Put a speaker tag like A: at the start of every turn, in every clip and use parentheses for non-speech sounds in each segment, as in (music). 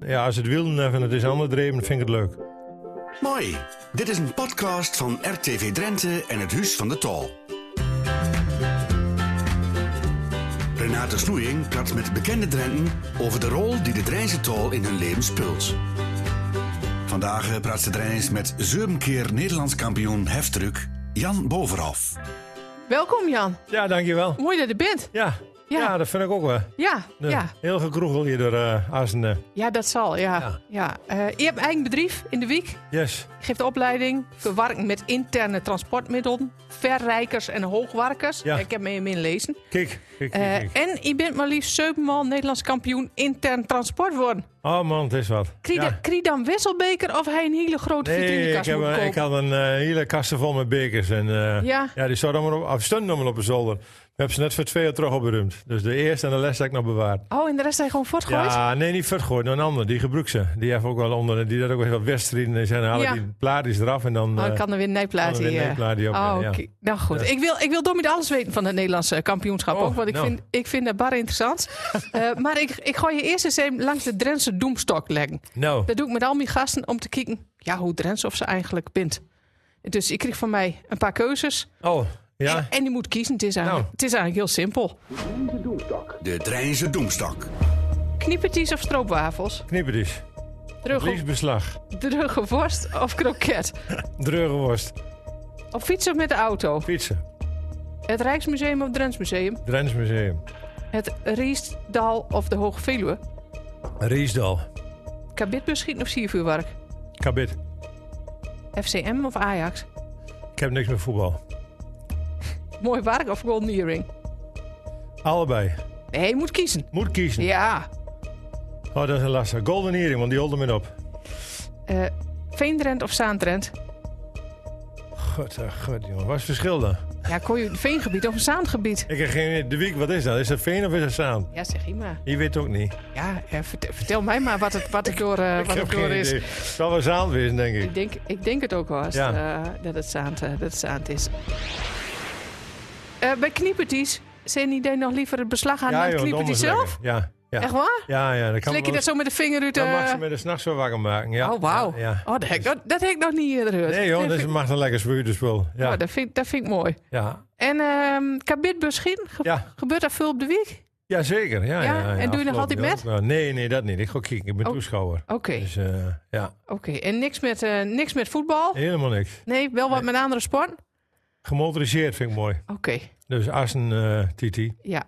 A: Ja, als het wiel even het is allemaal dreven, vind ik het leuk.
B: Mooi. Dit is een podcast van RTV Drenthe en het Huis van de Tal. Renate Snoeing praat met bekende Drenten over de rol die de Drijnse Tal in hun leven speelt. Vandaag eh, praat ze Drijns met zevenkeer Nederlands kampioen heftruck Jan Boverhof.
C: Welkom Jan.
A: Ja, dankjewel.
C: Mooi dat je er bent.
A: Ja, ja.
C: Ja.
A: dat vind ik ook wel.
C: Ja,
A: Ja,
C: ja.
A: Heel gekroegel hier door eh Assen.
C: ja dat zal. Ja.
A: Ja.
C: Ja. Eh, je hebt eigen bedrijf in de week.
A: Yes.
C: Je geeft opleiding voor werken met interne transportmiddelen, verrijkers en hoogwerkers.
A: Ja.
C: Ik heb mee in lezen.
A: Kijk, kijk, kijk.
C: Eh,
A: kijk.
C: en je bent maar liefst zevenmaal Nederlands kampioen intern transport worden.
A: Oh man, het is wat.
C: Krie,
A: Ja.
C: dan- krie dan Wisselbeker of hij een hele grote
A: Nee, ik,
C: vitrinekast
A: heb,
C: moet
A: een-
C: kopen?
A: ik had een eh, hele kasten vol met bekers. En, eh,
C: Ja.
A: die stonden allemaal op, of stonden allemaal op de zolder. We hebben ze net voor twee jaar terug opgeruimd. Dus de eerste en de les heb ik nog bewaard.
C: Oh, en de rest zijn gewoon voortgegooid?
A: Ja, nee, niet vergooid. Nog een ander, die gebruikt ze. Die heeft ook wel onder, die dat ook wel wat wedstrijden. En dan haal ik
C: Ja.
A: die plaatjes eraf en dan...
C: Oh,
A: eh,
C: ik kan er weer een
A: kan
C: nijplaat
A: er weer
C: in.
A: een
C: eh.
A: nijplaat die op-
C: oh,
A: ja.
C: oké. Nou goed,
A: Ja.
C: ik wil, ik wil dominic alles weten van het Nederlandse kampioenschap
A: Oh,
C: ook. Want ik,
A: nou.
C: vind, ik vind dat bar
A: (laughs)
C: interessant. Eh, maar ik, ik gooi je eerst eens even langs de Drentse doemstok leggen.
A: nou,
C: Dat doe ik met al mijn gasten om te kijken ja, hoe Drents of ze eigenlijk bent. Dus ik kreeg van mij een paar keuzes.
A: oh, ja.
C: En, en die moet kiezen. Het is, eigenlijk,
A: Nou.
C: het is eigenlijk heel simpel.
B: De Drijnse Doemstak.
C: Kniepertjes of stroopwafels?
A: Knippertjes.
C: Drugge,
A: Liesbeslag.
C: drugge worst of kroket?
A: Dreugenworst.
C: Op fiets of met de auto?
A: Fietsen.
C: Het Rijksmuseum of Drents Museum?
A: Drents Museum.
C: Het Riesdal of de Hoge Veluwe?
A: Riesdal.
C: Kabitbus schieten of siervuurwerk?
A: Kabit.
C: FCM of Ajax?
A: Ik heb niks met voetbal.
C: Mooi werk of golden earring?
A: Allebei.
C: Nee, je moet kiezen.
A: Moet kiezen.
C: Ja.
A: Oh, dat is een lastig. Golden Earring, want die holde me op.
C: Eh Veendrent of Zaandrent?
A: God, eh, god, jongen. Wat is het verschil dan?
C: Ja, kon je veengebied of een zaandgebied?
A: Ik heb geen idee. De wiek, wat is dat? Is dat veen of is dat zaan?
C: Ja, zeg je maar.
A: Je weet het ook niet.
C: Ja, eh, vert- vertel mij maar wat het, wat het door, eh,
A: (laughs) ik
C: wat
A: heb
C: het door
A: geen
C: is.
A: idee. Het zal wel zaan wezen, denk ik.
C: Ik denk, ik denk het ook wel eens,
A: Ja.
C: eh, dat, het zaand, eh, dat het zaand is. Eh, bij knieperties zijn die deed nog liever het beslag aan dan het
A: joh,
C: kniepertie
A: donders
C: zelf?
A: lekker. Ja, ja.
C: Echt waar?
A: Ja, ja. Dat kan
C: Slik je
A: wel-
C: dat zo met de vinger uit de...
A: Dan mag ze me de s'nachts wel wakker maken. Ja.
C: Oh, wauw.
A: Ja, ja.
C: Oh, dat, heb ik nog- dat heb ik nog niet eerder gehoord.
A: Nee, joh,
C: Dat
A: dat is,
C: vind-
A: mag een lekker spuurder spul. Ja.
C: oh, dat, vind, dat vind ik mooi.
A: ja.
C: En ehm kabitbus Gien, ge-
A: Ja.
C: gebeurt dat veel op de week?
A: ja, zeker. Ja, ja,
C: Ja, en doe je nog
A: afgelopen
C: altijd
A: jaar
C: met?
A: ook wel. Nee, nee, dat niet. Ik ga kijken. Ik ben
C: Oh.
A: toeschouwer.
C: Oké,
A: Dus eh, ja,
C: oké. En niks met, eh, niks met voetbal?
A: helemaal niks.
C: Nee, wel wat met andere sport? Oké,
A: Gemotoriseerd vind ik mooi. Dus Assen, eh, Titi,
C: ja.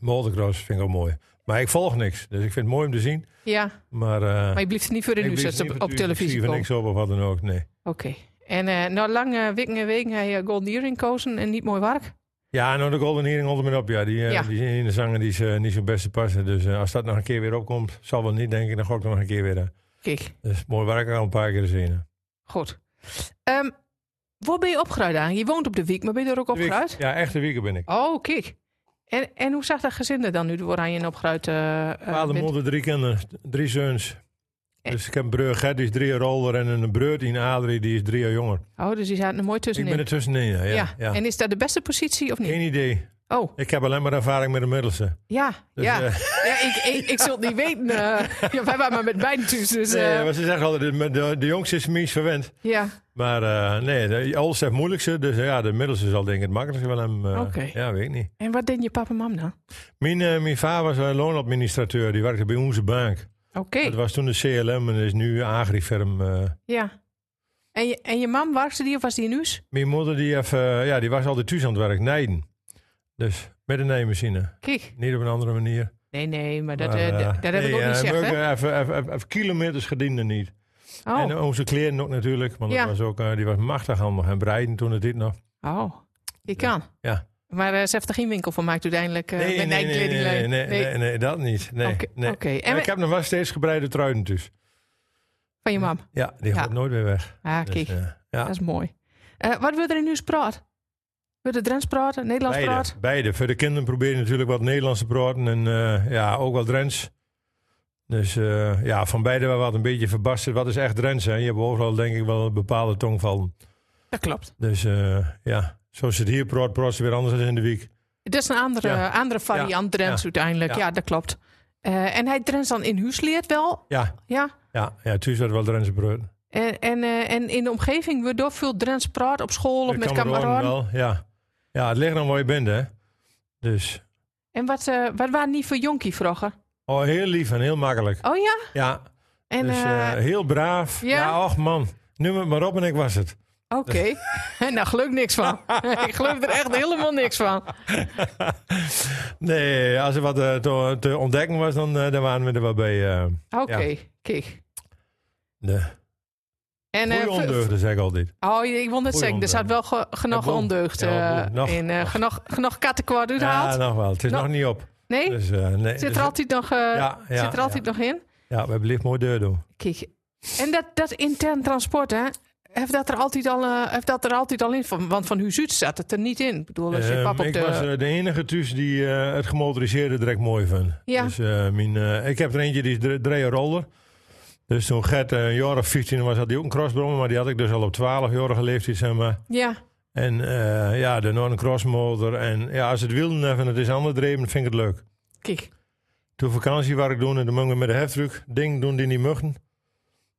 A: motocross vind ik ook mooi. Maar ik volg niks. Dus ik vind het mooi om te zien.
C: Ja,
A: Maar, eh,
C: maar je blijft er niet voor
A: ik
C: in nu
A: weet
C: zetten
A: niet
C: op,
A: wat
C: op
A: u- Ik zie
C: televisie
A: er
C: komen.
A: niks op of wat dan ook, nee.
C: Oké. En eh nou lang eh, weken en weken hij eh, Golden Earring kozen en niet mooi werk?
A: Ja, nou de Golden Earring holde me op. Ja, die, eh,
C: Ja.
A: die in de zangen die is eh, niet zijn beste passen. Dus eh, als dat nog een keer weer opkomt, zal wel niet denk ik. Dan ga ik nog een keer weer. eh.
C: Kijk,
A: Dus mooi werk al een paar keer zien. hè.
C: goed. Ehm waar ben je opgeruid aan? Je woont op de week, maar ben je er ook
A: De week-
C: opgeruid?
A: Ja, echte weken ben ik.
C: Oh, kijk. En, en hoe zag dat gezin er dan nu door aan je opgeruid? eh, eh,
A: Vader,
C: bent?
A: moeder, drie kinderen, drie zoons.
C: Eh.
A: Dus ik heb een broer Gert, die is drie jaar ouder. En een broer, die Adrie, die is drie jaar jonger.
C: Oh, dus die zaten er mooi
A: Ik
C: tussenin.
A: ben er tussenin, ja. ja,
C: ja.
A: ja.
C: En is dat de beste positie of niet?
A: Geen idee.
C: Oh,
A: Ik heb alleen maar ervaring met de middelste.
C: ja.
A: Dus,
C: ja.
A: eh,
C: ja ik, ik, ik zul het niet weten. eh.
A: (laughs)
C: ja, wij waren maar met beiden thuis. Dus, eh,
A: nee, maar ze zeggen altijd, de, de, de jongste is meest verwend.
C: ja.
A: Maar eh, nee, de oudste heeft het moeilijkste. Dus eh, ja, de middelste zal denk ik het makkelijkste wel hem. eh,
C: Oké.
A: Ja, weet ik niet.
C: En wat deed je papa en mam dan?
A: Mijn, eh, mijn vader was eh, loonadministrateur. Die werkte bij onze bank.
C: Oké,
A: Dat was toen de CLM en is nu Agriferm. eh.
C: ja. En je, en je mam, werkte die of was die in huis?
A: Mijn moeder die, heeft, eh, ja, die was altijd thuis aan het werk, nijden. Dus met een nijmachine.
C: Kijk.
A: Niet op een andere manier.
C: Nee, nee, maar dat,
A: Maar,
C: eh,
A: eh,
C: dat- dat heb ik
A: nee,
C: ook
A: eh,
C: niet gezegd, hè?
A: maar ook, eh, Even, even, even, even kilometers gediende niet.
C: Oh,
A: En onze kleren ook natuurlijk. Want
C: Ja.
A: dat was ook, eh, die was machtig handig. En breiden toen het dit nog.
C: oh. je kan.
A: Ja.
C: Maar eh, ze heeft er geen winkel van gemaakt uiteindelijk eh, met
A: nee, nee,
C: nijkledinglijn.
A: nee, nee, nee, nee, dat niet. Nee,
C: Oké,
A: nee.
C: oké. En
A: En
C: we-
A: ik heb nog wel steeds gebreide truien dus.
C: Van je mam.
A: Ja, die
C: Ja.
A: gaat nooit weer weg.
C: Ah,
A: Dus,
C: kijk.
A: eh, ja.
C: Dat is mooi. Eh, wat wil er in uw praat? Wil er Drents praten? Nederlands
A: Beide,
C: praten?
A: beide. Voor de kinderen probeer je natuurlijk wat Nederlandse praten en eh, ja, ook wel Drents. Dus eh, ja, van beide wel wat een beetje verbasterd. Wat is echt Drents? Hè? Je hebt overal denk ik wel een bepaalde tongval.
C: Dat klopt.
A: Dus eh, ja, zoals het hier praat, praat ze weer anders dan in de week.
C: Dat is een andere,
A: Ja.
C: andere variant Drents
A: Ja.
C: uiteindelijk.
A: Ja.
C: Ja. dat klopt. Eh, en hij Drents dan in huis leert wel.
A: Ja,
C: Ja.
A: ja, ja thuis werd wel Drentse brood.
C: En, en, eh, en in de omgeving wordt door veel Drents praat op school of
A: De
C: met
A: Cameroen
C: kameraden.
A: wel, Ja. ja, het ligt dan waar je bent, hè. Dus,
C: En wat, eh, wat waren die voor jonkie vroeger?
A: oh, heel lief en heel makkelijk.
C: Oh ja?
A: Ja,
C: En,
A: dus
C: eh,
A: eh, heel braaf.
C: ja?
A: Ja, och man. Noem het maar op en ik was het.
C: Oké. (laughs) nou, geloof ik niks
A: (laughs)
C: van. ik geloof er echt helemaal niks van.
A: (laughs) Nee, als er wat eh, te, te ontdekken was, dan, eh, dan waren we er wel bij. eh,
C: Oké, kijk.
A: de
C: En, eh,
A: goede
C: ver-
A: ondeugden, zeg ik altijd.
C: Oh, ik wil net
A: Goeie
C: zeggen, er staat wel ge- genoeg
A: Ja, boel.
C: ondeugd
A: Ja,
C: eh,
A: boel. Nog.
C: in. eh,
A: Nog.
C: genoeg, genoeg kattenkwaad
A: Ja,
C: uithaald.
A: nog wel. Het is
C: Nou,
A: nog niet op.
C: nee?
A: Dus, eh, nee,
C: zit
A: dus-
C: er altijd nog, eh,
A: ja, ja,
C: zit er altijd nog in?
A: Ja, we hebben licht mooi deur doen.
C: Kijk, en dat, dat intern transport, hè? Heeft dat, er altijd al, eh, heeft dat er altijd al in? Van- Want van Huzuut zat het er niet in. Ik bedoel, als Oh, je
A: Ehm,
C: pap op
A: ik
C: de...
A: was eh, de enige thuis die eh, het gemotoriseerde direct mooi vond.
C: Ja.
A: Dus, eh, mijn, eh, ik heb er eentje, die is dre- drie jaar ouder. Dus toen Gert eh, een jaar of 15 was, had hij ook een crossbrommer. Maar die had ik dus al op 12 jaar geleefd, zeg maar.
C: Ja,
A: En eh, ja, de Northern Crossmotor. En ja, als het wiel even het is ander dreven, vind ik het leuk.
C: kijk.
A: Toen vakantie waar ik doen en dan mogen we met de heftruck. Ding doen die niet muggen.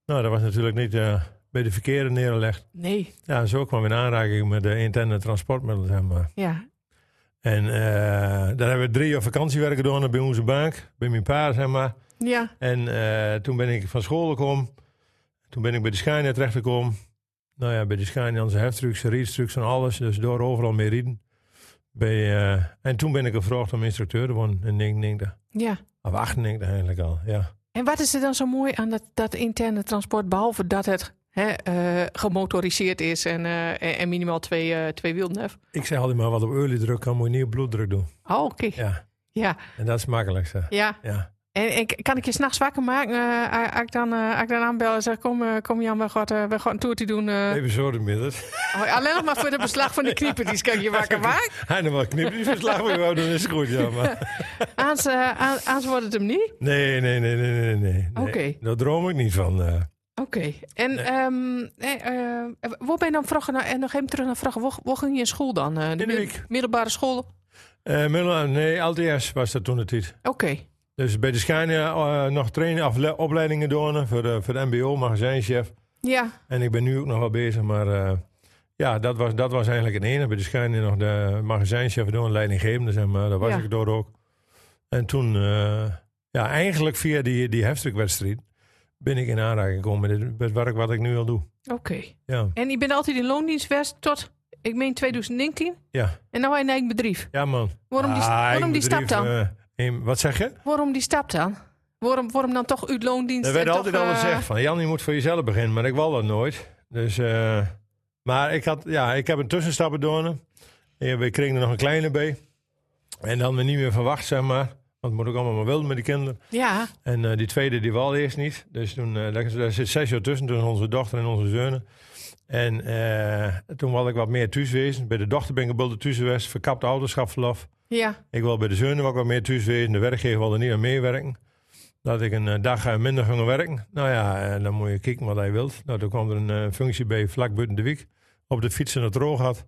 A: Nou, dat was natuurlijk niet eh, bij de verkeerde neergelegd.
C: Nee,
A: Ja, zo kwam ik in aanraking met de interne transportmiddelen, zeg maar.
C: ja.
A: En eh, daar hebben we drie jaar vakantiewerk gedaan bij onze bank, bij mijn pa, zeg maar.
C: Ja,
A: En eh, toen ben ik van school gekomen. Toen ben ik bij de Scania terechtgekomen. Nou ja, bij de Scania, onze heftrucks, rietstrucks en alles. Dus door overal mee rieden. Bij, eh, en toen ben ik gevraagd om instructeur te worden in 1990.
C: ja.
A: Of 98 eigenlijk al, ja.
C: En wat is er dan zo mooi aan dat, dat interne transport, behalve dat het hè, eh, gemotoriseerd is en, eh, en- en minimaal twee, eh, twee wielen heeft?
A: Ik zeg altijd maar, wat op oliedruk kan, moet je niet op bloeddruk doen.
C: Oh, oké. Ja.
A: Ja,
C: ja,
A: en dat is het makkelijkste. Ja.
C: En, en k- kan ik je s'nachts wakker maken eh, als ik dan, eh, als ik dan aanbel en zeg, kom, eh, kom Jan, we gaan, eh, we gaan een toertje doen. eh.
A: Even zo inmiddels.
C: Oh, alleen nog maar voor de beslag van de kniepertjes kan ik je wakker maken.
A: (laughs) Hij nog wel knipjes verslag wil je wel doen, is het goed, ja. Maar.
C: Aans, eh, aan- aans wordt het hem niet.
A: Nee, nee, nee, nee, nee, nee. nee.
C: Oké.
A: Daar droom ik niet van. eh.
C: Oké. En ehm eh, eh, waar ben je dan vroeger, naar- en nog even terug naar vragen, waar, waar ging je in school dan? eh,
A: de
C: mid-
A: week.
C: Middelbare school? Oké.
A: Eh, Middel- nee, LTS was dat toen de tijd. Dus bij de Scania eh, nog trainingen, of le- opleidingen doen voor de, voor de MBO, magazijnchef.
C: Ja,
A: En ik ben nu ook nog wel bezig, maar eh, ja, dat was, dat was eigenlijk het enige. Bij de Scania nog de magazijnchef doen, leidinggevende, zeg maar. Daar was
C: Ja.
A: ik door ook. En toen, eh, ja, eigenlijk via die, die heftruckwedstrijd ben ik in aanraking gekomen met, dit- met werk wat ik nu al doe.
C: oké.
A: Ja,
C: En ik ben altijd in loondienst geweest tot, ik meen 2019.
A: ja.
C: En nou in eigen bedrijf.
A: ja man.
C: Waarom die,
A: Ah,
C: waarom
A: ik
C: die stap
A: bedrijf,
C: dan?
A: eh, in- wat zeg je?
C: Waarom die stap dan? Waarom, waarom dan toch uit loondienst?
A: Er werd
C: en
A: altijd
C: toch,
A: al
C: eh,
A: gezegd van Jan, je moet voor jezelf beginnen, maar ik wil dat nooit. Dus, eh, maar ik, had, ja, ik heb een tussenstap gedaan. Ik kreeg er nog een kleine bij. En dan weer niet meer verwacht, zeg maar. Want het moet ook allemaal maar willen met die kinderen.
C: Ja,
A: En eh, die tweede, die wal eerst niet. Dus toen, eh, daar, daar zit zes jaar tussen, tussen onze dochter en onze zeunen. En eh, toen wilde ik wat meer thuis wezen. Bij de dochter ben ik gebulde thuis geweest, verkapt ouderschapsverlof.
C: ja,
A: Ik wil bij de zeunen ook wat meer thuis wezen. De werkgever wil er niet aan meewerken. Dat ik een eh, dag eh, minder ging werken. Nou ja, eh, dan moet je kijken wat hij wilt. Nou, toen kwam er een eh, functie bij vlak buiten de week. Op de fiets en het droog had.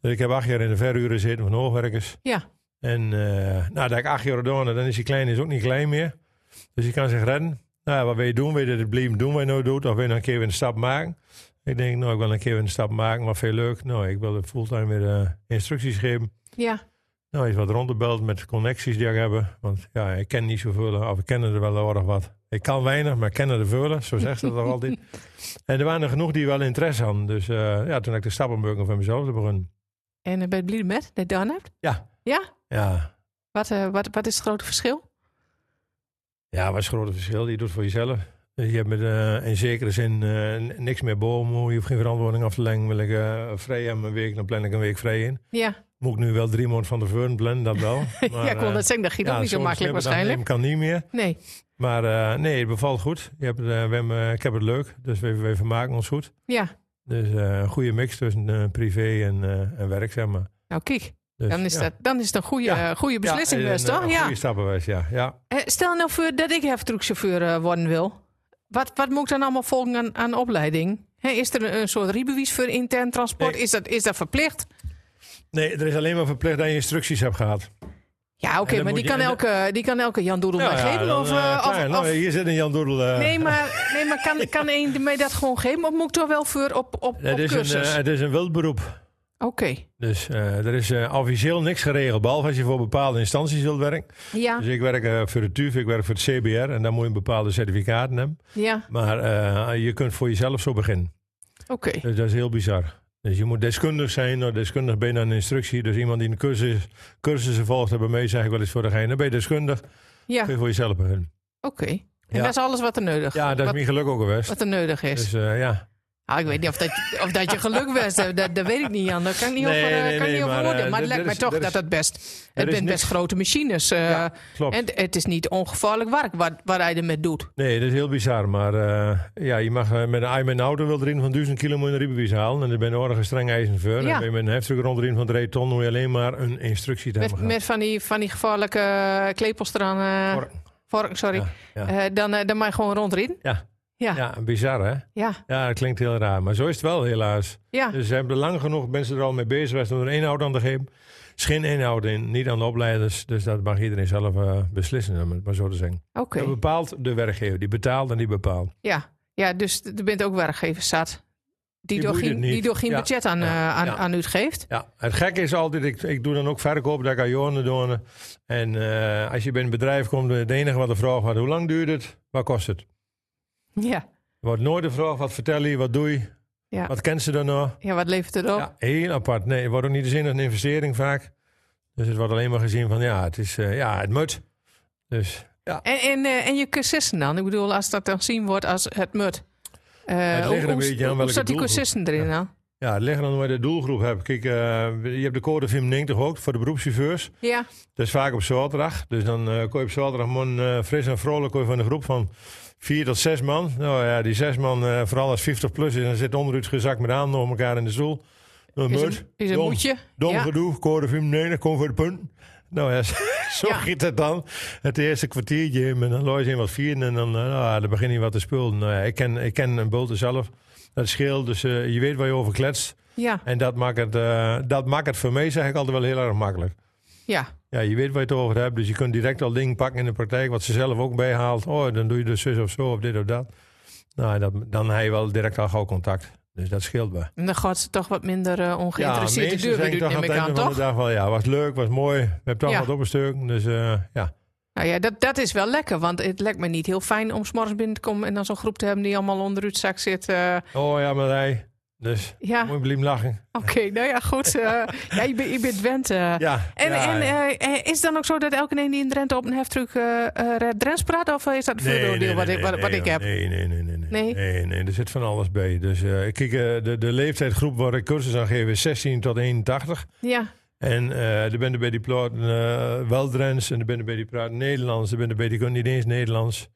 A: Dus ik heb acht jaar in de verhuren zitten van hoogwerkers.
C: ja.
A: En eh nou, dat ik acht jaar gedaan heb, dan is die kleine is ook niet klein meer. Dus die kan zich redden. Nou, ja, wat wil je doen? Wil je dit blijven doen wat je nou doet? Of wil je nog een keer weer een stap maken? Ik denk, nou, ik wil een keer weer een stap maken, maar veel leuk. Nou, ik wil fulltime weer eh, instructies geven.
C: ja.
A: Nou, eens wat rondgebeld met connecties die ik heb. Want ja, ik ken niet zoveel, of ik ken er wel aardig wat. Ik kan weinig, maar ik ken er veel, zo zegt
C: (laughs)
A: ze dat altijd. En er waren er genoeg die wel interesse hadden. Dus eh, ja, toen heb ik de stappenburger van mezelf te begonnen.
C: En eh, ben je blij met dat je het gedaan hebt?
A: Ja.
C: Ja?
A: Ja,
C: Wat, eh, wat, wat is het grote verschil?
A: ja wat is het grote verschil? Je doet het voor jezelf. Dus Je hebt met, eh, in zekere zin eh, niks meer bomen. Je hoeft geen verantwoording af te leggen. Wil ik eh, vrij hebben een week, dan plan ik een week vrij in.
C: Ja,
A: Moet ik nu wel drie maanden van tevoren plannen, dat wel. Maar,
C: (laughs) ja ik wil
A: eh,
C: dat zeggen. Dat ging ook
A: ja,
C: niet zo
A: zo'n
C: makkelijk
A: snipper dat
C: waarschijnlijk.
A: nemen kan niet meer.
C: Nee.
A: Maar eh, nee, het bevalt goed. Je hebt, eh, we hebben, eh, ik heb het leuk, dus we, we vermaken ons goed.
C: Ja.
A: Dus eh, een goede mix tussen eh, privé en, eh, en werk, zeg maar.
C: Nou, kijk.
A: Dus,
C: Dan is,
A: ja.
C: dat, dan is het een goede,
A: Ja.
C: eh, goede beslissing
A: ja, en,
C: geweest,
A: eh,
C: toch?
A: Een
C: Ja.
A: goede stappenwijs, ja. ja.
C: Eh, Stel nou voor dat ik heftruckchauffeur eh, worden wil. Wat, wat moet ik dan allemaal volgen aan, aan opleiding? Hè, is er een, een soort ribewies voor intern transport?
A: Nee.
C: Is, dat, is dat verplicht?
A: Nee, er is alleen maar verplicht dat je instructies hebt gehad.
C: Ja, oké,
A: En dan
C: maar
A: moet
C: die
A: je-
C: kan,
A: en dan-
C: elke, die kan elke Jan Doedel
A: Ja,
C: maar
A: ja,
C: geven.
A: dan,
C: of,
A: eh,
C: eh, of-
A: klaar. nou,
C: of-
A: hier zit een Jan Doedel. eh.
C: nee, maar, nee, maar kan, kan een mij dat gewoon geven? Of moet ik er wel voor op, op, op
A: het, is een,
C: cursus?
A: eh, het is een wild beroep.
C: Oké.
A: Dus eh, er is eh, officieel niks geregeld, behalve als je voor bepaalde instanties wilt werken.
C: Ja,
A: Dus ik werk eh, voor de TUF, ik werk voor het CBR en dan moet je een bepaalde certificaten hebben.
C: ja,
A: Maar eh, je kunt voor jezelf zo beginnen.
C: oké.
A: Dus dat is heel bizar. Dus je moet deskundig zijn. Nou, deskundig ben je dan een instructie. Dus iemand die een cursus, cursussen volgt, hebben mee, zeg ik wel eens voor de gein. Dan ben je deskundig,
C: Ja,
A: kun
C: oké.
A: je voor jezelf beginnen.
C: En
A: Ja.
C: dat is alles wat er nodig
A: Ja, dat is
C: wat,
A: mijn geluk ook geweest.
C: wat er nodig is.
A: Dus eh, ja.
C: Ah, ik weet niet of dat, of dat je geluk best hebt. Dat, dat weet ik niet, Jan. Daar kan ik niet
A: Nee,
C: over, eh,
A: nee,
C: kan
A: nee,
C: niet over
A: maar, eh,
C: oordelen. Maar
A: er-
C: het
A: er
C: lijkt mij
A: is-
C: toch
A: er is-
C: dat dat best...
A: er
C: Het
A: is
C: zijn best
A: niks.
C: grote machines. eh,
A: Ja, klopt.
C: en het is niet ongevaarlijk werk wat, wat hij ermee doet.
A: Nee, dat is heel bizar. Maar eh, ja, je mag eh, met een, met een auto wel erin van 1000 kilo moet je een rijbewijs halen. En dan ben je orgen streng ijzenveur.
C: Ja.
A: En ben je met een heftig rond erin van 3 ton, moet je alleen maar een instructie te
C: Met,
A: hebben
C: met van, die, van die gevaarlijke eh, klepels eraan. eh,
A: gehad. Voor-
C: vork, sorry.
A: Ja, ja.
C: Eh, dan, eh, dan maar gewoon rondrin.
A: Ja.
C: Ja, ja,
A: Ja, bizar hè?
C: ja.
A: Ja, dat klinkt heel raar. Maar zo is het wel helaas.
C: ja.
A: Dus ze hebben lang genoeg mensen er al mee bezig geweest om er één auto aan te geven. Er is geen inhoud in, niet aan de opleiders. Dus dat mag iedereen zelf eh, beslissen, om het maar zo te zeggen.
C: oké.
A: Dat bepaalt de werkgever. Die betaalt en die bepaalt.
C: Ja. ja, dus je bent ook werkgever zat. Die,
A: Die
C: door
A: boeit
C: geen,
A: het niet.
C: die door geen
A: Ja.
C: budget aan,
A: Ja.
C: eh, aan,
A: Ja.
C: aan u geeft.
A: Ja, het gekke is altijd, ik, ik doe dan ook verkoop, dat kan Jorne doen. En eh, als je bij een bedrijf komt, het enige wat de vraag wordt, hoe lang duurt het? Wat kost het?
C: Ja.
A: Er wordt nooit de vraag, wat vertel je, wat doe je?
C: Ja. Oh.
A: Wat kent ze dan nog?
C: ja, wat levert het op?
A: Ja, heel apart. Nee, het wordt ook niet gezien als een investering vaak. Dus het wordt alleen maar gezien van, ja, het is, eh, ja, het moet. Dus
C: En, en, eh, en je cursussen dan? Ik bedoel, als dat dan zien wordt als het mut. Eh,
A: Het ligt
C: hoe-
A: er een
C: hoe-
A: beetje aan
C: hoe
A: welke
C: staat die
A: doelgroep.
C: cursussen erin
A: Ja.
C: dan?
A: ja, het ligt aan hoe je de doelgroep hebt. Kijk, eh, je hebt de code VIM 90 ook voor de beroepschauffeurs.
C: Ja,
A: Dat is vaak op zaterdag. Dus dan eh kon je op zaterdag man, eh, fris en vrolijk kon je van een groep van vier tot zes man. Nou ja, die zes man, eh, vooral als 50 plus is, dan zit onderuit gezakt met aan nog elkaar in de stoel. Dan
C: is
A: moet,
C: een, is een
A: dom,
C: moedje.
A: dom
C: ja.
A: gedoe, code 95, kom voor de punt. Nou ja, (laughs) zo
C: Ja.
A: giet het dan. Het eerste kwartiertje in, en dan looi je in wat vieren en dan, eh, nou, ja, dan begin je wat te spullen. Nou ja, ik ken, ik ken een bulte zelf. Dat scheelt, dus eh, je weet waar je over kletst.
C: Ja,
A: En dat maakt, het, eh, dat maakt het voor mij, zeg ik altijd, wel heel erg makkelijk.
C: ja.
A: Ja, je weet waar je het over hebt, dus je kunt direct al dingen pakken in de praktijk, wat ze zelf ook bijhaalt. Oh, dan doe je dus zus of zo, of dit of dat. Nou, dat, dan heb je wel direct al gauw contact. Dus dat scheelt me.
C: En dan gaat ze toch wat minder eh,
A: Ja,
C: ongeïnteresseerd de
A: meestal
C: deur
A: zeg
C: weer
A: ik
C: doet,
A: toch aan
C: neem
A: het
C: ik aan,
A: einde van de
C: toch?
A: dag wel, ja, was leuk, was mooi. We hebben toch
C: Ja.
A: wat op een stuk, dus eh, ja.
C: Nou ja, dat, dat is wel lekker, want het lijkt me niet heel fijn om 's morgens binnen te komen en dan zo'n groep te hebben die allemaal onder uw zak zit. eh,
A: Oh ja, Marij. Dus
C: ja,
A: moet je blijven lachen.
C: oké, nou ja, goed. eh, ja, je, bent- je bent eh. Drenthe.
A: Ja.
C: En,
A: ja,
C: en
A: ja.
C: eh, eh, is het dan ook zo dat elke een die in Drenthe op een heftruck eh eh, Red Drents praat? Of is dat een vooroordeel wat, ik, wat, wat
A: nee,
C: ik heb?
A: Nee, nee, nee, nee. Nee,
C: Nee?
A: nee, nee, er zit van alles bij. Dus eh, kijk, eh, de, de leeftijdsgroep waar ik cursus aan geef is 16 tot 81.
C: Ja,
A: En eh er ben je bij die praten eh wel Drents en er ben je bij die praten Nederlands. Er ben je bij die kunnen niet eens Nederlands.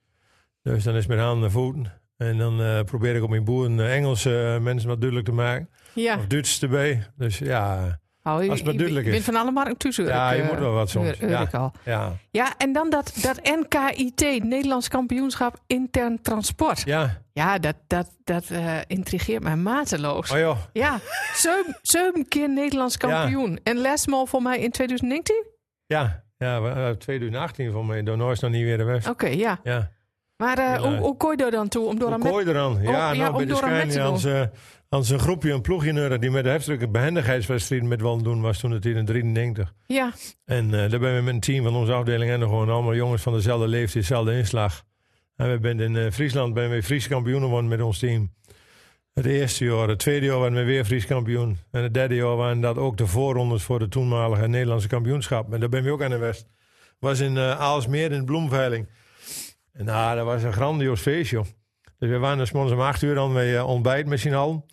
A: Dus dan is mijn handen en voeten. En dan eh, probeer ik op mijn boeren eh, Engelse eh, mensen wat duidelijk te maken.
C: ja.
A: Of Duits erbij. Dus ja,
C: Oh, je-
A: Als het maar
C: je-
A: duidelijk
C: Je
A: is.
C: bent van alle markten tussen.
A: Ja, je moet wel wat soms, ja.
C: eh, al.
A: ja,
C: ja, en dan dat, dat NKIT, Nederlands Kampioenschap Intern Transport. Ja,
A: ja.
C: dat, dat, dat eh, intrigeert mij mateloos.
A: Oh joh.
C: Ja, zeven, zeven keer Nederlands kampioen. En lesmal voor mij in 2019?
A: Ja, ja we- eh, 2018 voor mij. Daarna is nog niet weer de weg.
C: Oké, ja.
A: Ja.
C: Maar eh,
A: Ja.
C: hoe, hoe kon je er dan toe om door
A: Hoe
C: een met... oh,
A: kooi je er dan? Ja,
C: ja,
A: nou,
C: om
A: bij de
C: door aan met
A: schijn
C: te
A: aan
C: doen.
A: zijn- aan zijn groepje, een ploegje nodig die met de heftige behendigheidswedstrijd met Wan doen was toen het in de 93.
C: Ja,
A: En eh, daar ben we met een team van onze afdeling en nog gewoon allemaal jongens van dezelfde leeftijd, dezelfde inslag. En we zijn in eh, Friesland ben we Fries kampioen geworden met ons team. Het eerste jaar, het tweede jaar waren we weer Fries kampioen. En het derde jaar waren dat ook de voorrondes voor de toenmalige Nederlandse kampioenschap. En daar ben we ook aan de West. Was in eh Aalsmeer in de bloemveiling. En nou, dat was een grandioos feest, joh. Dus we waren dus morgens om acht uur aan bij eh, ontbijt met z'n allen.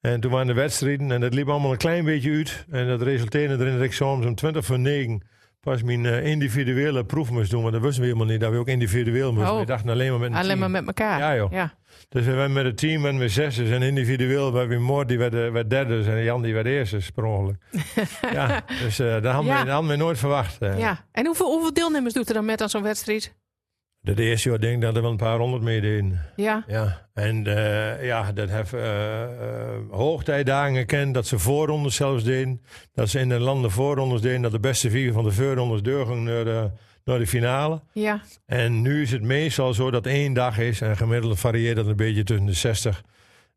A: En toen waren de wedstrijden en dat liep allemaal een klein beetje uit. En dat resulteerde erin dat ik soms om 20 voor 9 pas mijn eh, individuele proef moest doen. Want dat wisten we helemaal niet, dat we ook individueel moesten.
C: Oh.
A: We dachten alleen maar met een
C: alleen
A: team.
C: maar met elkaar.
A: Ja, joh.
C: Ja.
A: Dus we werden met het team werden we zesers en individueel werden we Moord, die werd, eh, werd derders en Jan die werd eerstes, per ongeluk. ja, dus eh dat hadden,
C: Ja.
A: we, dat hadden we nooit verwacht. eh.
C: Ja. En hoeveel, hoeveel deelnemers doet er dan met aan zo'n wedstrijd?
A: Dat eerste jaar denk ik dat er wel een paar honderd meededen.
C: Ja,
A: Ja, en eh, ja, dat heeft eh, eh, hoogtijdagen gekend dat ze voorrondes zelfs deden. Dat ze in de landen voorrondes deden, dat de beste vier van de voorrondes doorgingen naar de, naar de finale.
C: ja.
A: En nu is het meestal zo dat één dag is en gemiddeld varieert dat een beetje tussen de 60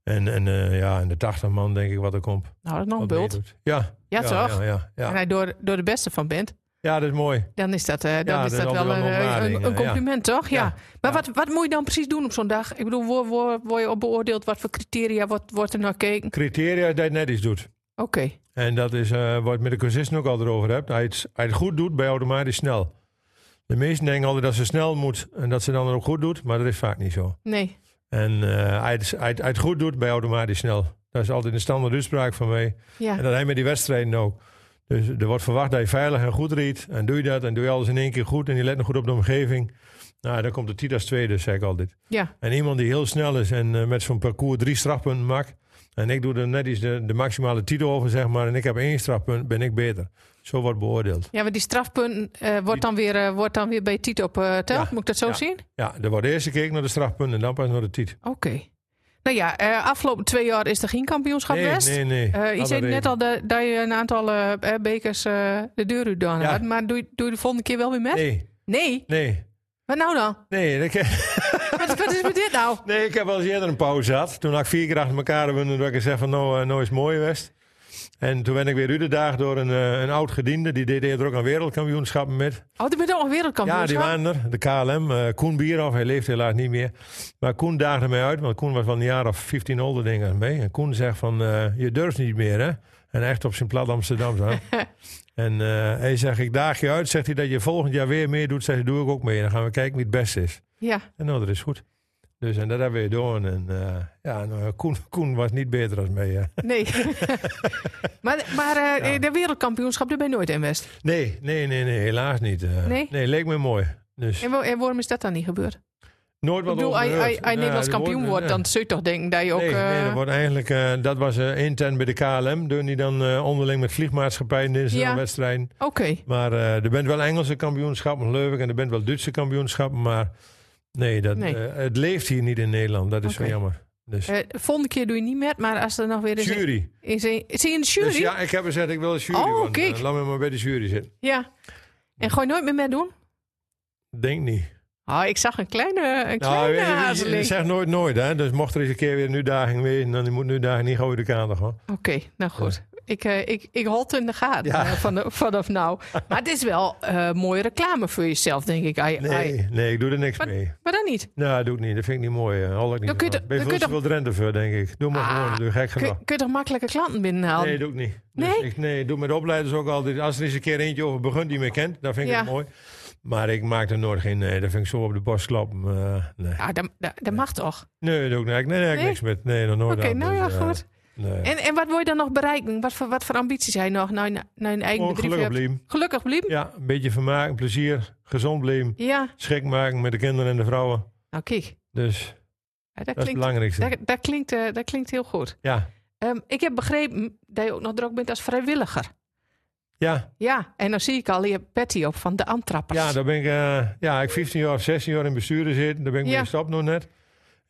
A: en, en, eh, ja, en de 80 man, denk ik, wat er komt.
C: Nou, dat is nog een
A: Wat
C: bult.
A: meedoet. Ja.
C: Ja, toch?
A: Ja, ja, ja.
C: En hij door, door de beste van bent,
A: Ja, dat is mooi.
C: dan is dat, eh, dan
A: dat
C: is
A: is
C: dat
A: altijd
C: wel
A: wel een
C: een,
A: ontlading,
C: een,
A: eh, ja,
C: een compliment, toch? Ja.
A: Ja,
C: Maar
A: ja.
C: Wat, wat moet je dan precies doen op zo'n dag? Ik bedoel, word, word, word je op beoordeeld? Wat voor criteria wordt, wordt er naar gekeken?
A: Criteria dat je net iets doet.
C: Oké.
A: En dat is eh, waar je het met de cursisten ook altijd over hebt. Hij het, hij het goed doet, bij automatisch snel. De meesten denken altijd dat ze snel moet en dat ze dan ook goed doet, maar dat is vaak niet zo.
C: Nee.
A: En eh, hij, het, hij, het- hij het goed doet, bij automatisch snel. Dat is altijd een standaard uitspraak van mij.
C: Ja.
A: En dat hij met die wedstrijden ook. Dus er wordt verwacht dat je veilig en goed riet. En doe je dat en doe je alles in één keer goed en je let nog goed op de omgeving. Nou, dan komt de Tita's tweede, zeg ik altijd.
C: ja.
A: En iemand die heel snel is en eh, met zo'n parcours drie strafpunten maakt. En ik doe er net iets de, de maximale titel over, zeg maar. En ik heb één strafpunt, ben ik beter. Zo wordt beoordeeld.
C: Ja, maar die strafpunten eh, wordt, dan weer, eh, wordt dan weer bij Tiet op eh tel.
A: Ja.
C: Moet ik dat zo
A: Ja.
C: zien?
A: Ja, er wordt eerst gekeken naar de strafpunten en dan pas naar de titel.
C: Oké. Nou ja, eh, afgelopen twee jaar is er geen kampioenschap
A: nee,
C: West.
A: nee, nee.
C: Eh, je
A: Alle
C: zei net
A: reden.
C: al dat, dat je een aantal eh, eh, bekers eh, de deur uit dan
A: Ja.
C: had. Maar doe je, doe je de volgende keer wel weer met?
A: Nee,
C: Nee?
A: nee,
C: Wat nou dan?
A: nee. Ik heb,
C: Wat, wat is met dit nou?
A: nee, ik heb wel eens eerder een pauze gehad. Toen had ik vier keer achter elkaar gewonnen. Toen ik gezegd van, nou, eh, nou is het mooi West. En toen ben ik weer uitgedaagd door een, eh, een oud gediende. Die deed eerder ook aan wereldkampioenschappen met.
C: Oh, die bent ook een wereldkampioen.
A: Ja, die waren er. De KLM. eh, Koen Bierhoff, hij leeft helaas niet meer. Maar Koen daagde mij uit, want Koen was wel een jaar of 15 older, denk ik, mee. En Koen zegt van, eh, je durft niet meer, hè? En echt op zijn plat Amsterdam zijn. en eh, hij zegt, ik daag je uit. Zegt hij dat je volgend jaar weer meer doet. Zegt hij, doe ik ook mee. En dan gaan we kijken wie het beste is.
C: Ja.
A: En nou, dat is goed. Dus en dat hebben we gedaan. En eh, ja, nou, Koen, (laughs) Koen was niet beter dan mij. eh. hè.
C: Nee. (laughs) maar maar eh, de wereldkampioenschap, daar ben je nooit in West.
A: Nee, nee, nee, nee, helaas niet. eh.
C: Nee?
A: leek me mooi. Dus
C: En, wa- en waarom is dat dan niet gebeurd? Ik
A: nooit wat
C: bedoel,
A: over
C: als je- als
A: gehoord.
C: je als je
A: Ja,
C: Nederlands
A: er
C: kampioen
A: wordt-
C: wordt,
A: ja.
C: dan zul je toch denken dat je ook...
A: Nee, nee,
C: eh,
A: dat wordt eigenlijk, eh, dat was eh, intern bij de KLM. Doen die dan eh, onderling met vliegmaatschappijen in zijn
C: Ja.
A: wedstrijden.
C: Oké.
A: Maar eh, er bent wel Engelse kampioenschappen, leuk. En er bent wel Duitse kampioenschappen. Maar nee, dat,
C: Nee.
A: eh, het leeft hier niet in Nederland. Dat is
C: Oké.
A: zo jammer. Dus
C: Eh, dus- volgende keer doe je niet met, maar als er nog weer... Is,
A: jury.
C: Is, een- is hij in de jury?
A: Dus ja, ik heb gezegd, ik wil de jury
C: Oh,
A: worden.
C: kijk.
A: Laat me maar bij de jury zitten.
C: Ja. En gooi nooit meer met doen?
A: Denk niet.
C: Oh, ik zag een kleine,
A: Nou,
C: een kleine
A: je- je- je,
C: aarzeling.
A: zegt nooit nooit. Hè? Dus mocht er eens een keer weer een uitdaging wezen, dan moet een uitdaging niet gauw uit de kader gaan.
C: Oké, nou goed. Ik, eh, ik, ik holt in de gaten
A: Ja.
C: eh, van de- vanaf
A: (laughs)
C: nou. Maar het is wel eh, mooie reclame voor jezelf, denk ik. Ai, ai.
A: Nee, nee, ik doe er niks
C: Maar-
A: mee.
C: Maar dan niet.
A: Nou, dat doe ik niet. Dat vind ik niet mooi. eh. Hol ik niet
C: Dan kun je
A: van.
C: toch-
A: ben je veel
C: dan kun
A: te
C: je
A: veel Drenthe voor, denk ik. Doe maar
C: Ah,
A: gewoon. Doe gek
C: Kun,
A: genoeg.
C: kun je toch makkelijke klanten binnenhalen?
A: Nee, doe ik niet. Dus
C: Nee?
A: Ik, nee, ik doe met opleiders ook altijd. Als er eens een keer eentje over begint die me kent, dan vind ik
C: Ja.
A: het mooi. Maar ik maak er nooit geen... Nee, dat vind ik zo op de borst klappen. eh, nee.
C: Ja, dat, dat, dat mag toch?
A: nee, dat doe ik, nee, ik- nee, nee, ik
C: Nee?
A: niks met. Nee, nog nooit
C: Oké,
A: aan.
C: nou ja,
A: Dus, eh,
C: goed.
A: nee.
C: En, en wat wil je dan nog bereiken? Wat voor, wat voor ambities hij nog naar nou, een eigen
A: Gewoon
C: bedrijf
A: gelukkig
C: hebt?
A: blijven.
C: Gelukkig blijven?
A: Ja, een beetje vermaken, plezier, gezond blijven.
C: Ja.
A: Schik maken met de kinderen en de vrouwen.
C: Nou, kijk.
A: Dus dat,
C: Ja, dat,
A: is het
C: klinkt,
A: belangrijkste.
C: dat, dat klinkt, eh, dat klinkt heel goed.
A: Ja,
C: Ehm, ik heb begrepen dat je ook nog druk bent als vrijwilliger.
A: ja,
C: Ja, en dan zie ik al hier Patty op van de Antrappers.
A: ja, daar ben ik, eh, ja, ik 15 jaar of 16 jaar in besturen zitten. Daar ben ik
C: Ja.
A: mee gestopt nog net.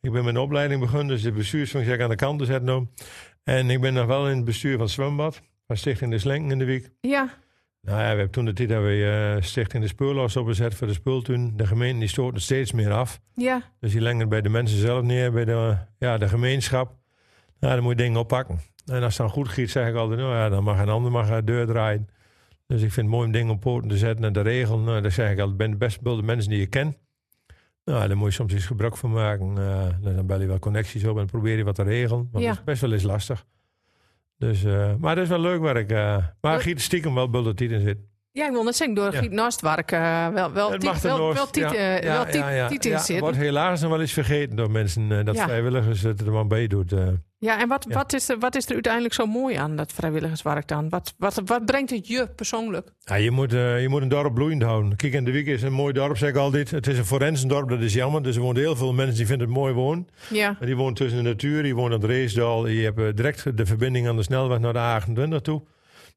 A: Ik ben mijn opleiding begonnen, dus de bestuursfunctie heb ik aan de kant gezet nu. En ik ben nog wel in het bestuur van het zwembad, van Stichting de Slenken in de week.
C: ja.
A: Nou ja, we hebben toen de tijd hebben we eh, Stichting de Speurlos opgezet voor de speultuin. De gemeente die stoot er steeds meer af.
C: ja.
A: Dus die lengen het bij de mensen zelf neer, bij de, eh, ja, de gemeenschap. Nou, dan moet je dingen oppakken. En als het dan goed giet, zeg ik altijd, nou ja, dan mag een ander mag de deur draaien. Dus ik vind het mooi om dingen op poten te zetten en te regelen. Nou, dan zeg ik altijd, ben de best bedoelde mensen die je kent. Nou, daar moet je soms eens gebruik van maken. Eh, dan bel je wel connecties op en probeer je wat te regelen. Want
C: Ja.
A: dat is best wel eens lastig. Dus, eh, maar dat is wel leuk werk. eh maar
C: Leuk.
A: giet stiekem wel bulletin in zit.
C: Ja, ik wil net zeggen, door
A: Ja.
C: Giet Nastwark eh, wel, wel,
A: Het
C: tiet-
A: mag er
C: wel,
A: nooit.
C: wel tiet- eh, wel tiet- tiet in
A: Ja,
C: zitten.
A: wordt helaas nog wel eens vergeten door mensen eh, dat
C: Ja.
A: vrijwilligers het er maar bij doet. eh.
C: Ja, en wat,
A: Ja.
C: Wat, is er, wat is er uiteindelijk zo mooi aan dat vrijwilligerswerk dan? Wat, wat, wat brengt het je persoonlijk?
A: Ja, je, moet, eh, je moet een dorp bloeiend houden. Kijk, in de week is een mooi dorp, zeg ik altijd. Het is een forensendorp, dat is jammer. Dus er wonen heel veel mensen die vinden het mooi wonen.
C: Ja,
A: Maar die wonen tussen de natuur, die wonen aan het Reesdal. Je hebt eh, direct de verbinding aan de snelweg naar de A28 toe.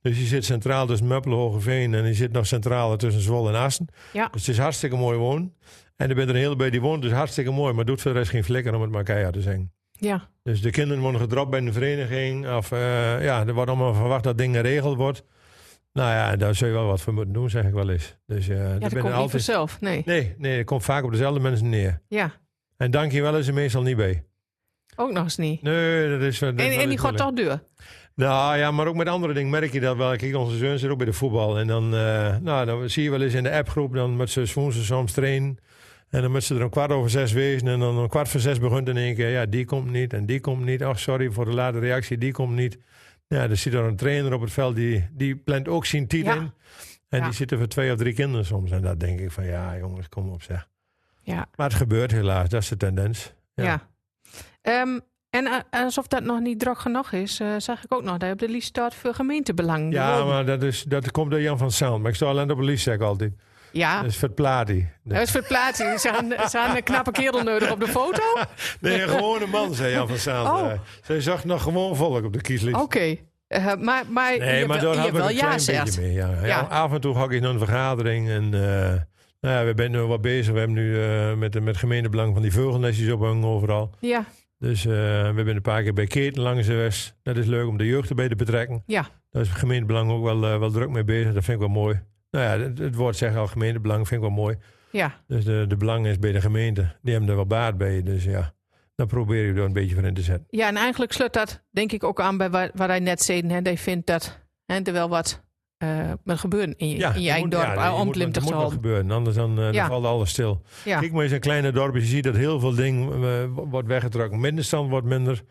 A: Dus je zit centraal tussen Meppelen, Hogeveen en je zit nog centraal tussen Zwolle en Assen.
C: Ja.
A: Dus het is hartstikke mooi wonen. En er bent er een hele bij die woont, dus hartstikke mooi. Maar doet voor de rest geen flikker om het maar keihard te zeggen.
C: Ja,
A: Dus de kinderen worden gedropt bij een vereniging. Of eh, ja, er wordt allemaal verwacht dat dingen geregeld wordt. Nou ja, daar zul je wel wat voor moeten doen, zeg ik wel eens. Dus eh, er
C: ja dat
A: bent
C: komt niet
A: altijd...
C: vanzelf. Nee.
A: Nee, nee, dat komt vaak op dezelfde mensen neer.
C: Ja,
A: En dank je wel is er meestal niet bij.
C: ook nog eens niet.
A: Nee, dat is... dat is
C: en
A: wel
C: en die
A: eens
C: gaat
A: moeilijk.
C: toch deur.
A: Nou ja, maar ook met andere dingen merk je dat wel. Kijk, onze zoon zit ook bij de voetbal. En dan, eh, nou, dan zie je wel eens in de appgroep, dan met ze woensdag soms trainen. En dan moeten ze er een kwart over zes wezen. En dan een kwart voor zes begint in één keer, ja, die komt niet en die komt niet. Ach, sorry voor de late reactie, die komt niet. Ja, dan zit er een trainer op het veld, die, die plant ook zijn tijd
C: Ja.
A: in. En
C: Ja.
A: die zitten voor twee of drie kinderen soms. En dat denk ik van, ja jongens, kom op zeg.
C: Ja,
A: Maar het gebeurt helaas, dat is de tendens.
C: ja.
A: Ja.
C: Ehm, en eh, alsof dat nog niet druk genoeg is, eh, zag ik ook nog dat op de lijst staat voor gemeentebelang.
A: Ja, maar dat, is, dat komt door Jan van Sound. Maar ik sta alleen op een liefstek altijd. (laughs)
C: ja.
A: Dus verplaat die.
C: Ah. Dat is verplaatsing. Ze hadden, ze hadden een knappe kerel nodig op de foto. Oké.
A: Nee, een gewone man, zei Jan van Saan.
C: Oh.
A: Eh, Zij zag nog gewoon volk op de kieslijst.
C: Eh, maar maar,
A: Nee,
C: je
A: maar
C: wel,
A: daar
C: je
A: hadden we
C: wel
A: een klein
C: ja zegt.
A: beetje mee. Ja. Ja,
C: Ja.
A: af en toe ga ik in een vergadering en... eh, nou ja, we zijn nu wat bezig. We hebben nu eh, met, de- met gemeentebelang van die vogelnestjes ophangen overal.
C: Ja,
A: Dus eh, we zijn een paar keer bij Keten langs de West. Dat is leuk om de jeugd erbij te betrekken.
C: Ja.
A: Daar is gemeentebelang ook wel, eh, wel druk mee bezig. Dat vind ik wel mooi. Nou ja, het, het woord zegt al gemeentebelang vind ik wel mooi.
C: ja.
A: Dus de, de belang is bij de gemeente. Die hebben er wel baat bij. Dus ja, dan probeer je er een beetje van in te zetten.
C: ja, en eigenlijk sluit dat denk ik ook aan bij wat, wat hij net zei. Hè. Hij vindt dat hè, er wel wat eh met gebeuren in je, in je
A: er
C: eigen
A: moet-
C: dorp. eh,
A: ja,
C: Ja,
A: er moet,
C: omklimt
A: er moet wat gebeuren, anders dan, eh, dan
C: Ja.
A: valt alles stil.
C: Ja.
A: Kijk maar eens in kleine dorpen, je ziet dat heel veel dingen eh, wordt weggetrokken. Middenstand wordt minder.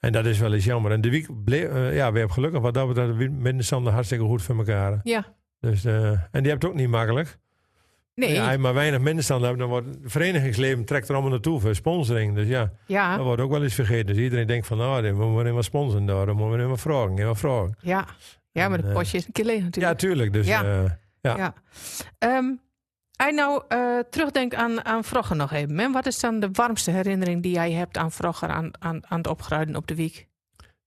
A: En dat is wel eens jammer. En de week, bleef- eh, ja, we hebben gelukkig wat dat betreft de middenstanden hartstikke goed voor elkaar. hè.
C: Ja.
A: Dus, eh, en die hebt het ook niet makkelijk.
C: Nee,
A: Ja, als
C: ja,
A: je maar weinig middenstanden hebt, dan wordt het verenigingsleven trekt er allemaal naartoe voor sponsoring. Dus ja, dat
C: ja,
A: wordt ook wel eens vergeten. Dus iedereen denkt van, nou, dan moeten we maar sponsoren daar, dan moeten we maar vragen, en maar vragen.
C: ja. maar
A: En,
C: de
A: eh,
C: potje is een keer leeg
A: Ja,
C: natuurlijk.
A: tuurlijk. Dus,
C: Ja.
A: eh, ja.
C: ja. Ehm, hij nou eh, terugdenkt aan, aan vroeger nog even. En wat is dan de warmste herinnering die jij hebt aan vroeger, aan, aan, aan het opgruiden op de week?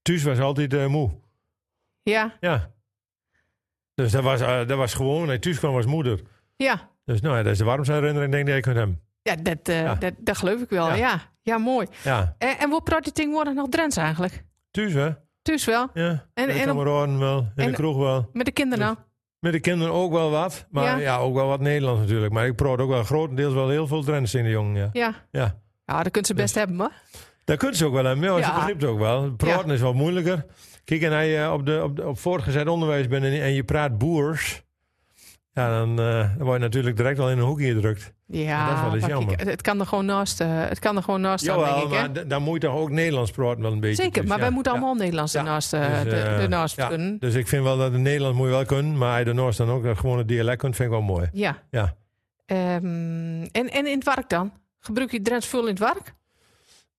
A: Thuis was altijd eh, moe.
C: Ja,
A: Ja. Dus dat was, eh, dat was gewoon, hij thuis kwam als moeder.
C: ja.
A: Dus nou ja, dat is de warmste herinnering, denk ik, aan hem.
C: Ja, dat, eh,
A: Ja.
C: Dat, dat geloof ik wel. Ja,
A: Ja.
C: ja, mooi.
A: Ja,
C: En, en wat praat die ding worden nog Drents eigenlijk?
A: thuis hè?
C: Dus wel.
A: Ja.
C: En-
A: En, de
C: en op-
A: kameraden wel, in
C: en-
A: de kroeg wel.
C: Met de kinderen nou?
A: Met de kinderen ook wel wat, maar
C: Ja.
A: ja, ook wel wat Nederlands natuurlijk. Maar ik proot ook wel grotendeels wel heel veel trends in de jongen, ja.
C: Ja.
A: ja.
C: Ja, dat kunt ze best hebben hoor.
A: Daar kunnen ze ook wel aan, ja,
C: Ja.
A: ze begrijpt ook wel. Praten is wat moeilijker. Kijk, en als je eh, op, de, op, de, op voortgezet onderwijs bent en, en je praat boers... Ja, dan, eh, dan word je natuurlijk direct al in een hoekje gedrukt.
C: Ja,
A: dat is wel eens
C: maar
A: jammer.
C: het- het kan er gewoon naast, eh, het kan er gewoon naast staan,
A: Jawel,
C: denk ik. Hè?
A: maar d- dan moet je toch ook Nederlands praten wel een beetje.
C: Zeker,
A: dus
C: maar
A: ja,
C: wij moeten
A: ja.
C: allemaal Nederlands
A: Ja.
C: ernaast, eh,
A: Dus,
C: de,
A: eh,
C: ernaast
A: ja.
C: kunnen.
A: Dus ik vind wel dat in Nederland moet je wel kunnen, maar daarnaast dan ook dat gewoon het dialect kunt, vind ik wel mooi.
C: Ja.
A: Ja.
C: Ehm, en, en in het werk dan? Gebruik je Drents veel in het werk?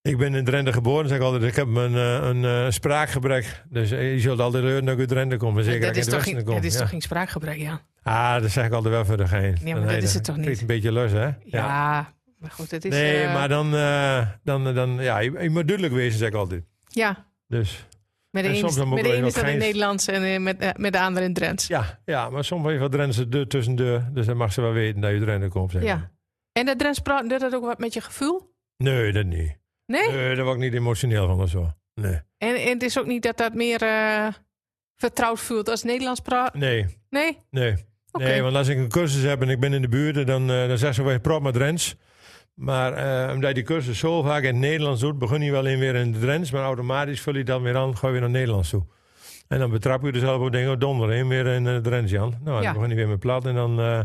A: Ik ben in Drenthe geboren, zeg ik altijd. Ik heb een, eh, een eh, spraakgebrek. Dus eh, je zult altijd leuren dat ik uit Drenthe kom. En zeker
C: dat
A: dat ik
C: is,
A: uit het
C: toch
A: Westen
C: geen,
A: kom.
C: dat is
A: ja.
C: toch geen spraakgebrek, ja?
A: Ah, dat zeg ik altijd wel voor de gein.
C: maar
A: Dan
C: dat
A: hij-
C: is het toch
A: dan
C: niet?
A: krijgt een beetje lus, hè?
C: Ja. Maar goed, het is...
A: nee,
C: eh,
A: maar dan, eh, dan, dan, ja, je, je moet duidelijk wezen, zeg ik altijd.
C: Ja,
A: Dus
C: met de
A: En
C: ene
A: soms
C: is-
A: dan moet
C: met de
A: wel
C: ene is
A: wat
C: dat in
A: geins.
C: Nederlands en eh, met, eh, met de andere in Drents.
A: ja, ja maar soms heeft wat Drenthe de tussendoor. Dus dan mag ze wel weten dat je uit Drenthe komt. zeg maar.
C: Ja. En dat Drents praat, doet dat ook wat met je gevoel?
A: Nee, dat niet.
C: Nee?
A: Nee, daar word ik niet emotioneel van of zo. Nee.
C: En, en het is ook niet dat dat meer eh, vertrouwd voelt als Nederlands praat?
A: Nee,
C: Nee? Oké.
A: nee. Nee, want als ik een cursus heb en ik ben in de buurt, dan, eh dan zeggen ze wel prop met Drents. Maar eh, omdat je die cursus zo vaak in het Nederlands doet, begin je wel in weer in de Drents, maar automatisch vul je dan weer aan, ga je weer naar het Nederlands toe. En dan betrap je er zelf op dingen, oh donder, heen, weer in de Drents, Jan. Nou, dan
C: Ja.
A: begin je weer met plat en dan... eh,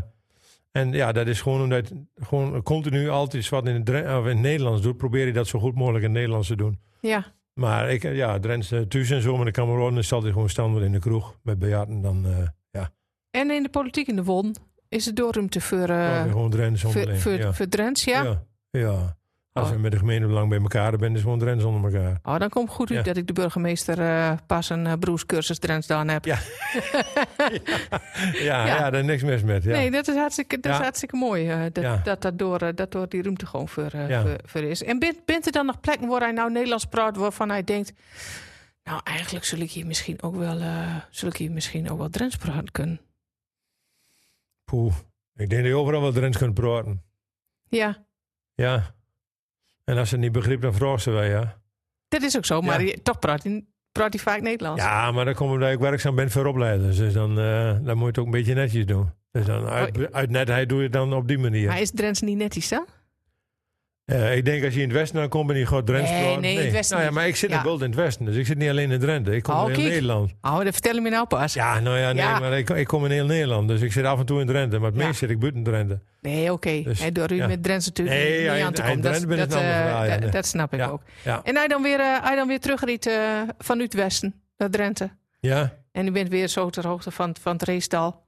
A: en ja, dat is gewoon omdat je gewoon continu altijd wat in het, Dren- of in het Nederlands doet, probeer je dat zo goed mogelijk in het Nederlands te doen.
C: Ja.
A: Maar ik, eh, ja, Drents, eh, thuis en zo, maar de Cameroon is altijd gewoon standaard in de kroeg met bejaarden. Dan eh
C: En in de politiek in de Won is het doorruimte voor, eh,
A: praten gewoon Drents
C: voor,
A: onderling.
C: voor,
A: Oh, ja.
C: voor Drents, ja?
A: ja. ja. Als
C: Oh.
A: we met de gemeente belang bij elkaar zijn, is het gewoon Drents onder
C: (laughs)
A: elkaar.
C: Oh, dan komt goed uit
A: Ja.
C: dat ik de burgemeester eh, pas een eh, broerscursus Drents dan heb.
A: Ja. Ja,
C: Ja.
A: ja. daar is niks mis met. Ja.
C: Nee, dat is hartstikke, dat is
A: Ja.
C: hartstikke mooi. eh, dat,
A: Ja.
C: dat, dat, door, eh, dat door die ruimte gewoon voor, eh,
A: Ja.
C: voor, voor is. En bent, bent er dan nog plekken waar hij nou Nederlands praat waarvan hij denkt... Nou, eigenlijk zul ik hier misschien ook wel, eh zul ik hier misschien ook wel Drents praten kunnen.
A: Poeh. Ik denk dat je overal wel Drents kunt praten.
C: Ja,
A: Ja. En als ze het niet begreep, dan vragen ze wij, ja.
C: dat is ook zo, maar
A: Ja.
C: je- toch praat hij praat hij vaak Nederlands.
A: Ja, maar dan komt omdat ik werkzaam ben voor opleiders. Dus dan, eh, dan moet je het ook een beetje netjes doen. Dus dan
C: Oh,
A: uit, uit netheid doe je het dan op die manier.
C: Maar is Drents niet netjes dan?
A: Eh, ik denk als je in het westen dan komt en je gaat Drents
C: Nee,
A: praten.
C: nee, in het westen
A: Nou ja,
C: niet.
A: maar ik zit
C: Ja.
A: ook wel in het westen. Dus ik zit niet alleen in Drenthe. Ik kom
C: Oh,
A: in heel
C: kijk.
A: Nederland.
C: Oh, dat vertel je me nou pas.
A: Ja, nou ja, nee,
C: Ja.
A: maar ik, ik kom in heel Nederland. Dus ik zit af en toe in Drenthe. Maar het
C: Ja.
A: meest zit ik buiten Drenthe.
C: Nee, oké.
A: Dus,
C: Hij door u
A: ja.
C: met Drents natuurlijk
A: Nee,
C: niet
A: hij-
C: aan te
A: hij
C: komen. Dat,
A: Drents ben
C: dat,
A: het een ander
C: eh,
A: verhaal, ja,
C: dat-
A: nee.
C: dat snap ik
A: Ja.
C: ook.
A: Ja.
C: En hij dan weer, eh, hij dan weer terugriet eh, van het westen naar Drenthe.
A: Ja.
C: En u bent weer zo ter hoogte van, van het Reesdal.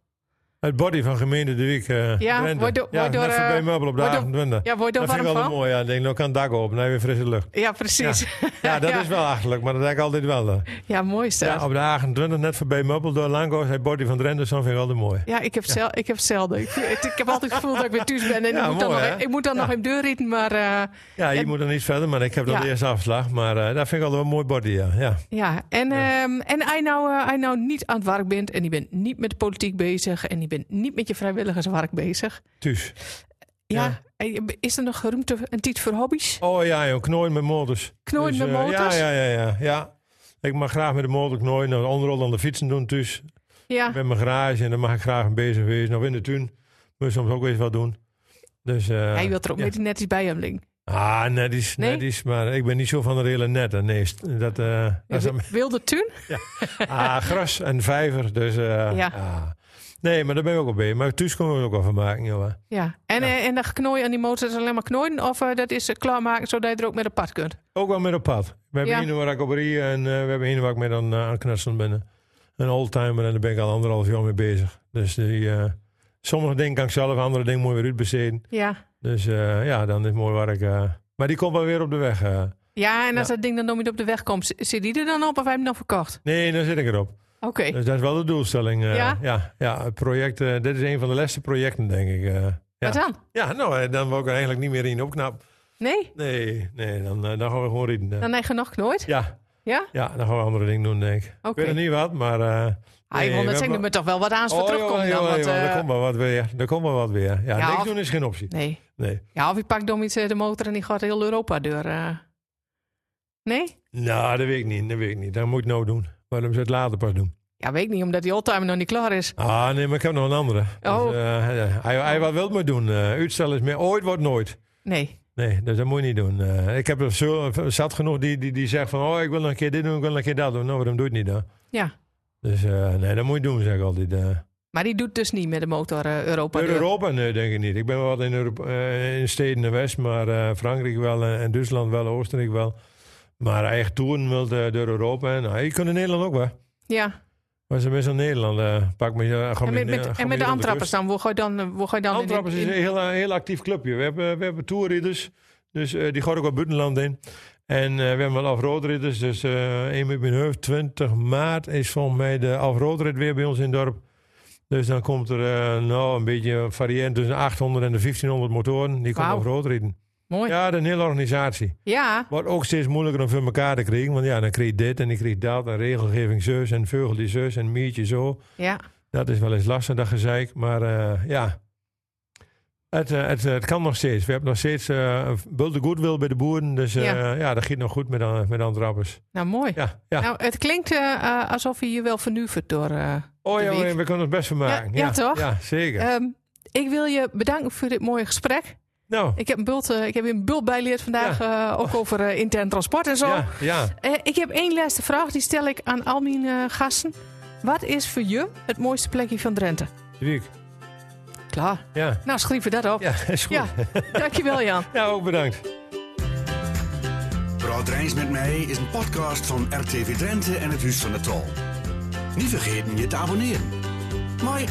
A: Het body van gemeente de week. eh
C: Ja,
A: Drenthe.
C: wordt door-
A: ja,
C: wordt door,
A: net voorbij
C: eh,
A: Meubel op de
C: wordt door-
A: 28.
C: Ja, word je er
A: dat vind
C: warm
A: ik wel
C: van?
A: mooi. Ja, ik denk, nou kan het dak op. Dan heb je frisse lucht.
C: Ja, precies. Ja, (laughs)
A: Ja, dat
C: Ja.
A: is wel achterlijk, maar dat denk ik altijd wel. eh.
C: mooi is dat.
A: Ja,
C: Ja,
A: op de 28, net voorbij Meubel door Lango's. Hij body van Drenthe, zo vind ik altijd mooi.
C: ik, heb zel, ik heb zelden. Ik, het- ik heb altijd het gevoel dat ik weer thuis ben. En
A: Ja,
C: ik moet dan,
A: mooi,
C: nog,
A: hè?
C: ik moet dan nog in deur rieten, maar eh,
A: Ja, je
C: En-
A: moet er niet verder, maar ik heb dan
C: Ja.
A: de eerste afslag. Maar eh dat vind ik altijd wel een mooi body, ja. ja.
C: Ja, en,
A: Ja.
C: ehm, en hij nou, eh, hij nou niet aan het werk bent en je bent niet met de politiek bezig en je bent niet met je vrijwilligerswerk bezig.
A: Thuis.
C: Ja.
A: Ja.
C: en Is er nog ruimte en tijd voor hobby's?
A: Oh ja, joh, knooien met motors.
C: Knooien
A: Dus,
C: met
A: eh,
C: motors?
A: ja, ja, ja, ja, ja. Ik mag graag met de motor knooien. Nou, onderal dan de fietsen doen thuis.
C: Ja.
A: Met mijn garage en dan mag ik graag een bezig wezen. Nog in de tuin. Moet je soms ook eens wat doen. Dus, eh,
C: Hij wil er ook
A: ja.
C: met die netjes bij hem liggen.
A: Ah, net is,
C: Nee?
A: net is. Maar ik ben niet zo van de hele netten. Nee, st- dat, eh, dat is
C: Ja,
A: een-
C: wi- Wilde tuin?
A: ah, gras en vijver. Dus, eh,
C: (laughs) Ja.
A: ah. Nee, maar daar ben ik ook al bij. Maar thuis kunnen we er ook wel van maken, jongen.
C: Ja. En,
A: Ja.
C: eh, en dat knooien aan die motor is alleen maar knooien of eh, dat is eh, klaarmaken zodat je er ook met een pad kunt?
A: Ook wel met op pad. We hebben
C: Ja.
A: hier waar ik op rie en eh, we hebben hier waar ik mee aan, eh, aan knutselen ben. Een oldtimer en daar ben ik al anderhalf jaar mee bezig. Dus die, eh, sommige dingen kan ik zelf, andere dingen moet je weer uitbesteden.
C: Ja.
A: Dus eh, ja, dan is mooi waar ik... eh, maar die komt wel weer op de weg. eh.
C: Ja, en als
A: Ja.
C: dat ding dan nog niet op de weg komt, z- zit die er dan op of heb je hem nog verkocht?
A: Nee, dan zit ik erop.
C: Oké.
A: Dus dat is wel de doelstelling. eh,
C: Ja?
A: Ja, ja, het project, eh, dit is een van de laatste projecten, denk ik. eh.
C: Wat dan?
A: ja, nou, eh, dan wil ik er eigenlijk niet meer in opknap.
C: Nee?
A: Nee, nee, dan, eh, dan gaan we gewoon rijden. eh.
C: Dan heb je nog knooid?
A: Ja,
C: Ja?
A: ja, dan gaan we andere dingen doen, denk ik.
C: Oké.
A: Ik weet er niet wat, maar... eh,
C: Hij
A: nee,
C: wil
A: we
C: net zeggen, er
A: hebben-
C: moet toch wel wat aan voor
A: Oh,
C: terugkomen
A: jongen,
C: dan.
A: jongen,
C: want,
A: jongen,
C: eh,
A: er komt wel wat weer. Er komt wel wat weer. Ja,
C: Ja,
A: niks
C: of-
A: doen is geen optie.
C: Nee.
A: Nee.
C: Ja, of je pakt dan iets eh, de motor en die gaat heel Europa door. eh. Nee?
A: Nou, dat weet ik niet. Dat weet ik niet. Dat moet ik nou doen. Waarom ze het later pas doen?
C: Ja, weet ik niet, omdat die oldtimer nog niet klaar is.
A: Ah, nee, maar ik heb nog een andere.
C: Oh.
A: Dus, eh, hij- hij, hij wat wil me doen. eh, uitstel is meer ooit wordt nooit.
C: Nee.
A: Nee, dus dat moet je niet doen. Eh, ik heb er zo, zat genoeg die, die, die zegt van... Oh, ik wil nog een keer dit doen, ik wil nog een keer dat doen. Nou, waarom doe je het niet dan?
C: Ja.
A: Dus eh, nee, dat moet je doen, zeg ik altijd. eh.
C: Maar die doet dus niet met de motor eh, Europa
A: In
C: door.
A: Europa nee, denk ik niet. Ik ben wel wat in, Europa, eh, in steden en West, maar eh, Frankrijk wel eh, en Duitsland wel, Oostenrijk wel. Maar eigen toeren wil de- door Europa. En, nou, je kunt in Nederland ook wel.
C: Ja.
A: Maar ze mensen in Nederland eh, pak me hier.
C: En met, met, en met de aantrappers dan? Hoe ga je dan, eh, hoe ga je dan in-
A: Antrappers is
C: in-
A: een heel, heel actief clubje. We hebben, we hebben toerridders, dus eh, die gaat ook op buitenland in. En eh, we hebben wel afroodridders, dus eh één met mijn hoofd. 20 maart is volgens mij de afroodrit weer bij ons in het dorp. Dus dan komt er eh, nou een beetje variërend tussen de 800 en de 1500 motoren. Die komen
C: Wauw.
A: afroodriden.
C: Mooi. Ja.
A: Ja, dat is een hele organisatie. Wordt ook steeds moeilijker om voor elkaar te krijgen. Want ja, dan krijg je dit en dan krijg je dat. En regelgeving zus en vogel die zus en miertje zo.
C: ja.
A: Dat is wel eens lastig, dat gezeik. Maar eh, ja, het, eh, het, eh, het kan nog steeds. We hebben nog steeds eh, een bulde goodwill bij de boeren. Dus eh,
C: Ja.
A: ja. dat giet nog goed met, aan- met Antrappers.
C: Nou, mooi.
A: Ja, ja.
C: Nou, het klinkt eh, eh, alsof je je wel vernuvert door... eh,
A: oh
C: de
A: ja,
C: week.
A: we, we kunnen ons best van maken.
C: Ja, ja, toch?
A: Ja, zeker.
C: Ehm, ik wil je bedanken voor dit mooie gesprek.
A: nou,
C: Ik heb een bult, eh, ik heb je een bult bijgeleerd vandaag, eh, ook over eh, intern transport en zo.
A: ja, ja.
C: Eh, ik heb één laatste vraag, die stel ik aan al mijn eh, gasten. Wat is voor je het mooiste plekje van Drenthe?
A: de week.
C: Klaar.
A: Ja,
C: Nou, schrijf je dat op.
A: ja, is goed.
C: Ja.
A: Ja,
C: Dankjewel, Jan.
A: ook bedankt.
B: Praat Drijns met mij is een podcast van RTV Drenthe en het Huis van de Tal. Niet vergeten je te abonneren. Mooi.